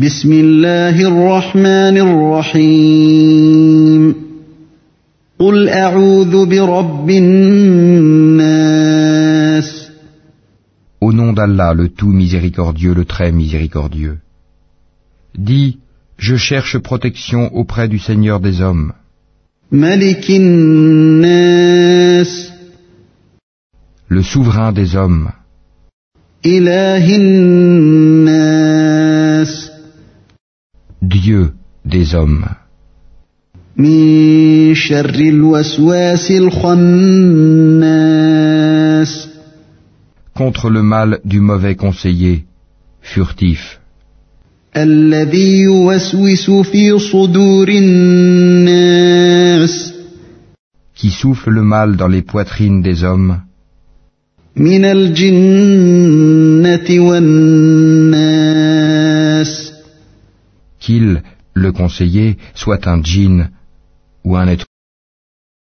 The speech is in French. بسم الله الرحمن الرحيم قل أعوذ برب الناس Au nom d'Allah, le tout miséricordieux, le très miséricordieux. Dis, je cherche protection auprès du Seigneur des hommes, ملك الناس le souverain des hommes, إله الناس Dieu des hommes, من شر الوسواس الخناس contre le mal du mauvais conseiller, furtif, الذي يوسوس في صدور الناس qui souffle le mal dans les poitrines des hommes, من الجنة والناس qu'il, le conseiller, soit un djinn ou un être